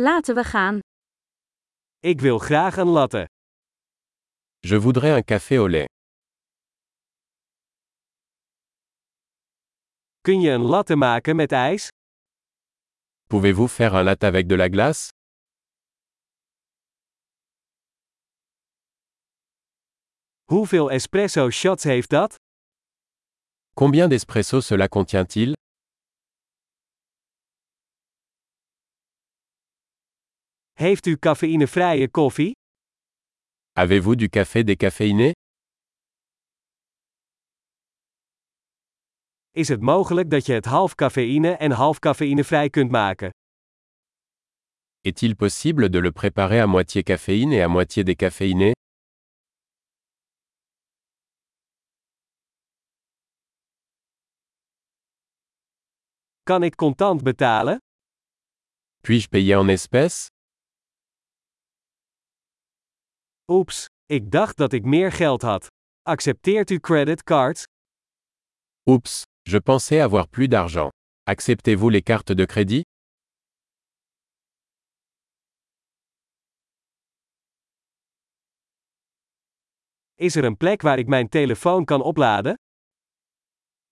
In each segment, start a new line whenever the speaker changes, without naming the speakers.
Laten we gaan.
Ik wil graag een latte.
Je voudrais un café au lait.
Kun je een latte maken met ijs?
Pouvez-vous faire un latte avec de la glace
Hoeveel espresso shots heeft dat?
Combien d'espresso cela contient-il
Heeft u cafeïnevrije koffie?
Avez-vous du café décaféiné
Is het mogelijk dat je het half cafeïne en half cafeïnevrij kunt maken?
Est-il possible de le préparer à moitié caféine et à moitié décaféiné
Kan ik contant betalen?
Puis-je payer en espèces
Oeps, ik dacht dat ik meer geld had. Accepteert u creditcards?
Oups, je pensais avoir plus d'argent. Acceptez-vous les cartes de crédit
Is er een plek waar ik mijn telefoon kan opladen?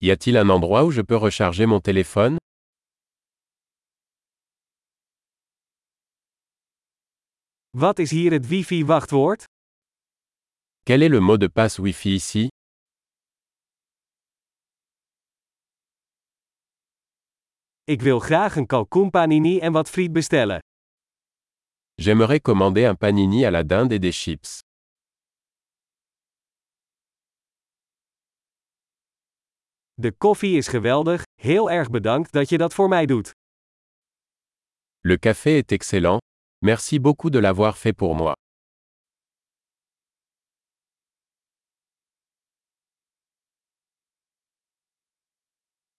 Y a-t-il un endroit où je peux recharger mon téléphone
Wat is hier het wifi-wachtwoord?
Quel est le mot de passe Wi-Fi ici
Ik wil graag een kalkoenpanini en wat friet bestellen.
J'aimerais commander un panini à la dinde et des chips.
De koffie is geweldig, heel erg bedankt dat je dat voor mij doet.
Le café est excellent. Merci beaucoup de l'avoir fait pour moi.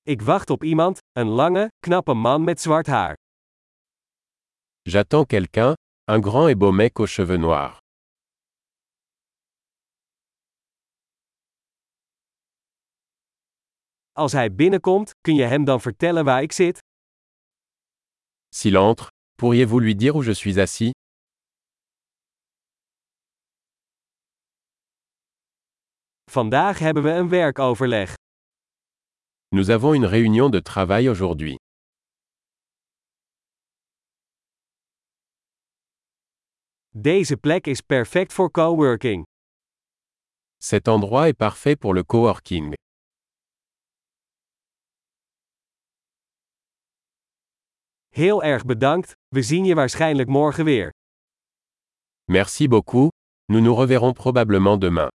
Ik wacht op iemand, een lange, knappe man met zwart haar.
J'attends quelqu'un, un grand et beau mec aux cheveux noirs.
Als hij binnenkomt, kun je hem dan vertellen waar ik zit?
S'il entre, pourriez-vous lui dire où je suis assis
Vandaag hebben we een werkoverleg.
Nous avons une réunion de travail aujourd'hui.
Deze plek is perfect voor coworking.
Cet endroit est parfait pour le coworking.
Heel erg bedankt, we zien je waarschijnlijk morgen weer.
Merci beaucoup, nous nous reverrons probablement demain.